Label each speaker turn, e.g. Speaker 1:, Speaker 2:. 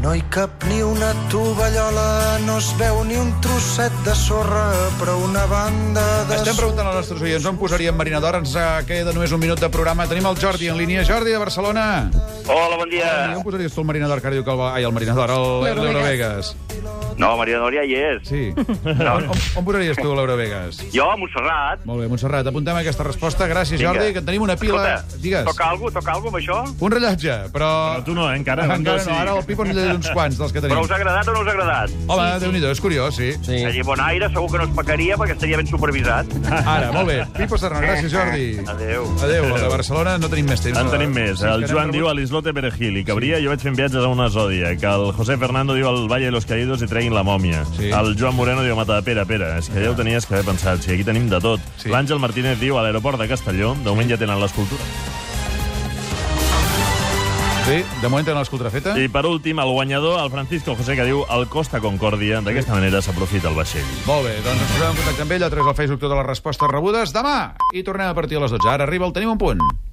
Speaker 1: No hi cap ni una tovallola, no es veu ni un trosset de sorra, però una banda de...
Speaker 2: Estem preguntant als nostres oients on posaríem marinador. Ens eh, queda només un minut de programa. Tenim el Jordi en línia. Jordi, de Barcelona.
Speaker 3: Hola, bon dia.
Speaker 2: On posaries tu el marinador que ara diu que el... va- Ai, el marinador, el-
Speaker 4: L'Eurovegas.
Speaker 2: l'Eurovegas.
Speaker 3: No, Maria Núria hi és.
Speaker 2: Sí. On, on, on posaries tu l'Eurovegas?
Speaker 3: Jo, a Montserrat.
Speaker 2: Molt bé, Montserrat, apuntem aquesta resposta. Gràcies,
Speaker 3: Vinga.
Speaker 2: Jordi, que en tenim una pila.
Speaker 3: Escolta,
Speaker 2: Digues.
Speaker 3: Toca alguna toca algo amb això?
Speaker 2: Un rellotge, però...
Speaker 5: No, tu no, eh, encara.
Speaker 2: Encara
Speaker 5: Un,
Speaker 2: no,
Speaker 5: dos, sí.
Speaker 2: ara el Pipo en llegeix uns quants dels que tenim.
Speaker 3: Però us ha agradat o no us ha agradat?
Speaker 2: Home, Déu-n'hi-do, és curiós, sí.
Speaker 3: Sí. Allí bon aire, segur que no es pecaria perquè estaria ben supervisat.
Speaker 2: Ara, molt bé. Pipo Serrano, gràcies, Jordi.
Speaker 3: Adéu.
Speaker 2: Adéu. El de Barcelona no tenim més temps.
Speaker 5: En tenim més. eh.
Speaker 2: Sí,
Speaker 5: El
Speaker 2: que
Speaker 5: Joan
Speaker 2: n'hem
Speaker 5: diu a
Speaker 2: rebut-
Speaker 5: l'Islote Perejil i Cabria, jo vaig fent viatges a una zòdia. Que el José Fernando diu al Valle de los Caídos i treguin la mòmia.
Speaker 2: Sí.
Speaker 5: El Joan Moreno diu a Mata de Pere, Pere, és que ja ho tenies que haver pensat. Si aquí tenim de tot.
Speaker 2: Sí.
Speaker 5: L'Àngel Martínez diu a l'aeroport de Castelló, de moment ja tenen l'escultura.
Speaker 2: Sí, de moment tenen l'escoltra feta.
Speaker 5: I per últim, el guanyador, el Francisco José, que diu el Costa Concòrdia. D'aquesta manera s'aprofita el vaixell.
Speaker 2: Molt bé, doncs ens posem en contacte amb ell a través del Facebook totes les respostes rebudes. Demà! I tornem a partir a les 12. Ara arriba el Tenim un punt.